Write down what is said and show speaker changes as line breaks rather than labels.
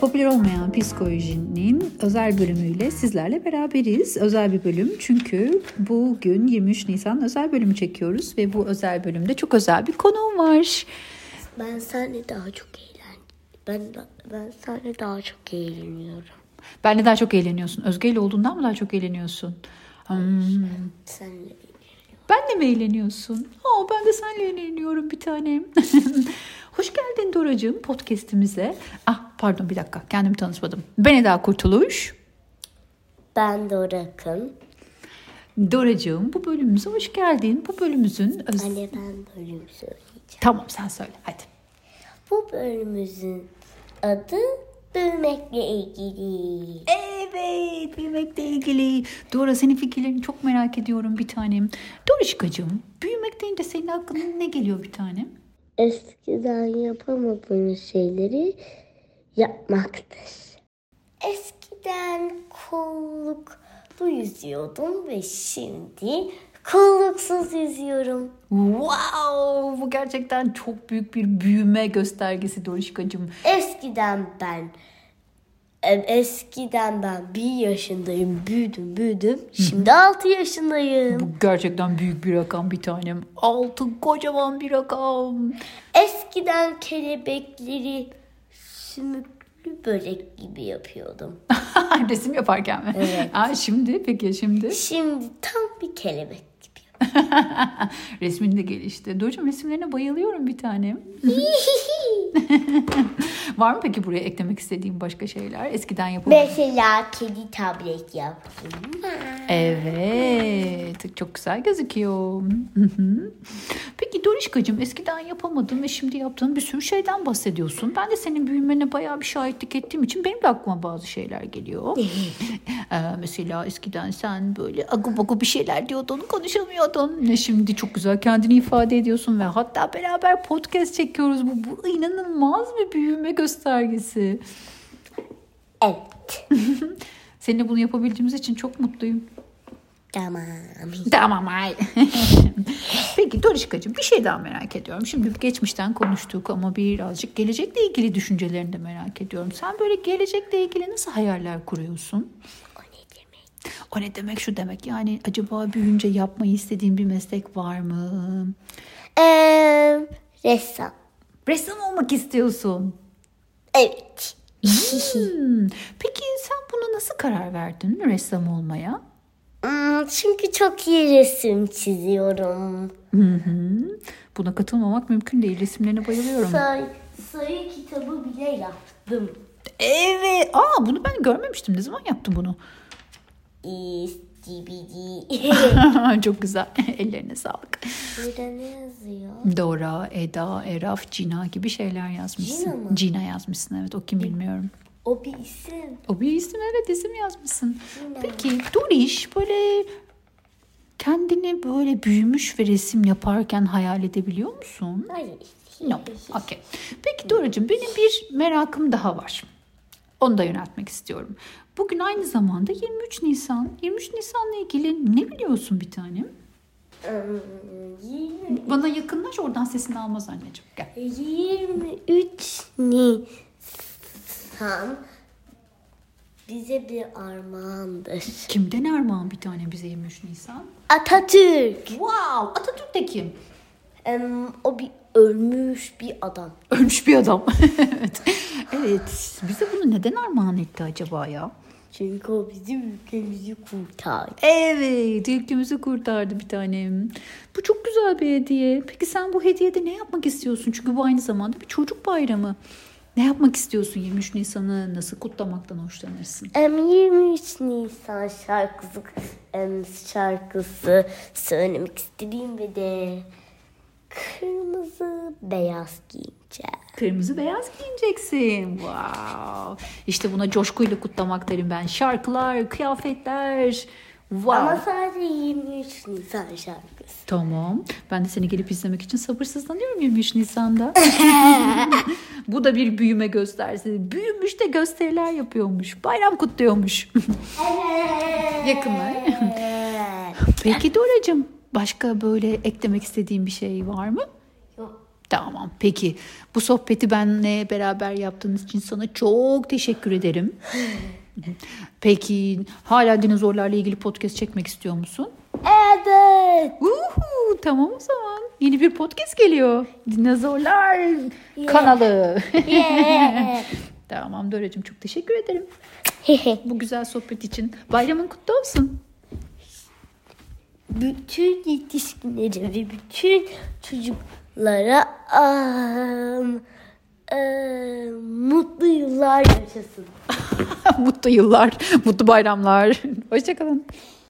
Popüler olmayan psikolojinin özel bölümüyle sizlerle beraberiz. Özel bir bölüm çünkü bugün 23 Nisan özel bölümü çekiyoruz ve bu özel bölümde çok özel bir konuğum var.
Ben senle daha çok eğlen. Ben da- ben senle daha çok eğleniyorum.
Benle daha çok eğleniyorsun. Özge ile olduğundan mı daha çok eğleniyorsun? Hmm.
Senle
Benle mi eğleniyorsun? Aa, ben de seninle eğleniyorum bir tanem. Hoş geldin Doracığım podcastimize. Ah pardon bir dakika kendimi tanışmadım. Ben Eda Kurtuluş.
Ben de Orak'ın.
Doracığım bu bölümümüze hoş geldin. Bu bölümümüzün öz...
Anne ben bölümü söyleyeceğim.
Tamam sen söyle hadi.
Bu bölümümüzün adı büyümekle ilgili.
Evet büyümekle ilgili. Dora senin fikirlerini çok merak ediyorum bir tanem. Doruşkacığım büyümek deyince senin aklına ne geliyor bir tanem?
Eskiden yapamadığımız şeyleri yapmaktır. Eskiden kolluklu yüzüyordum ve şimdi kolluksuz yüzüyorum.
Wow Oh, bu gerçekten çok büyük bir büyüme göstergesi Doruşkacığım.
Eskiden ben e, eskiden ben bir yaşındayım büyüdüm büyüdüm şimdi 6 yaşındayım.
Bu gerçekten büyük bir rakam bir tanem. Altın kocaman bir rakam.
Eskiden kelebekleri sümüklü börek gibi yapıyordum.
Resim yaparken mi? Aa, şimdi peki şimdi?
Şimdi tam bir kelebek gibi.
Resmin de gelişti. Doğrucuğum resimlerine bayılıyorum bir tanem. Var mı peki buraya eklemek istediğim başka şeyler? Eskiden yapılan.
Mesela kedi tablet yaptım.
Evet. Çok güzel gözüküyor. Hı hı. Peki Dorişkacığım eskiden yapamadığın ve şimdi yaptığın bir sürü şeyden bahsediyorsun. Ben de senin büyümene bayağı bir şahitlik ettiğim için benim de aklıma bazı şeyler geliyor. Ee, mesela eskiden sen böyle agu bagu bir şeyler diyordun, konuşamıyordun. Ne şimdi çok güzel kendini ifade ediyorsun ve hatta beraber podcast çekiyoruz. Bu, bu inanılmaz bir büyüme göstergesi.
Evet.
Seninle bunu yapabildiğimiz için çok mutluyum.
tamam.
Tamam ay. Peki Dorişkacığım bir şey daha merak ediyorum. Şimdi geçmişten konuştuk ama birazcık gelecekle ilgili düşüncelerini de merak ediyorum. Sen böyle gelecekle ilgili nasıl hayaller kuruyorsun?
O ne demek?
O ne demek şu demek yani acaba büyüyünce yapmayı istediğin bir meslek var mı?
Eee, ressam.
Ressam olmak istiyorsun.
Evet.
Hmm, Peki sen buna nasıl karar verdin ressam olmaya?
Hmm, Çünkü çok iyi resim çiziyorum.
Buna katılmamak mümkün değil. Resimlerine bayılıyorum.
Say, sayı kitabı bile yaptım.
Evet. Aa bunu ben görmemiştim. Ne zaman yaptın bunu?
İstibidi.
Çok güzel. Ellerine sağlık.
Burada ne yazıyor?
Dora, Eda, Eraf, Cina gibi şeyler yazmışsın.
Cina mı?
Cina yazmışsın evet. O kim bilmiyorum.
O bir isim.
O bir isim evet isim yazmışsın.
Cina.
Peki Doriş böyle kendini böyle büyümüş ve resim yaparken hayal edebiliyor musun?
Hayır.
No. Okay. Peki Doracığım benim bir merakım daha var. Onu da yöneltmek istiyorum. Bugün aynı zamanda 23 Nisan. 23 Nisan'la ilgili ne biliyorsun bir tanem?
Hmm, yirmi-
Bana yakınlaş oradan sesini almaz anneciğim. Gel.
23 Nisan bize bir armağandır.
Kimden armağan bir tane bize 23 Nisan?
Atatürk.
Wow! Atatürk de kim?
Em, o bir ölmüş bir adam.
Ölmüş bir adam. evet. Evet. Bize bunu neden armağan etti acaba ya?
Çünkü o bizim ülkemizi kurtardı.
Evet. Ülkemizi kurtardı bir tanem. Bu çok güzel bir hediye. Peki sen bu hediyede ne yapmak istiyorsun? Çünkü bu aynı zamanda bir çocuk bayramı. Ne yapmak istiyorsun 23 Nisan'ı? Nasıl kutlamaktan hoşlanırsın?
Em, 23 Nisan şarkısı em, şarkısı söylemek istediğim ve de kırmızı beyaz giyineceğim.
Kırmızı beyaz giyineceksin. Wow. İşte buna coşkuyla kutlamak derim ben. Şarkılar, kıyafetler. Wow.
Ama sadece 23 Nisan şarkısı.
Tamam. Ben de seni gelip izlemek için sabırsızlanıyorum 23 Nisan'da. Bu da bir büyüme gösterisi. Büyümüş de gösteriler yapıyormuş. Bayram kutluyormuş. Yakınlar.
Evet.
Peki Doracığım başka böyle eklemek istediğin bir şey var mı?
Yok.
Tamam peki bu sohbeti benle beraber yaptığınız için sana çok teşekkür ederim. Peki hala dinozorlarla ilgili podcast çekmek istiyor musun?
Evet.
Uhu, tamam o zaman yeni bir podcast geliyor. Dinozorlar kanalı.
Yeah.
tamam Doracığım çok teşekkür ederim bu güzel sohbet için. Bayramın kutlu olsun.
bütün yetişkinlere ve bütün çocuklara am, am, mutlu yıllar yaşasın.
mutlu yıllar, mutlu bayramlar. Hoşçakalın.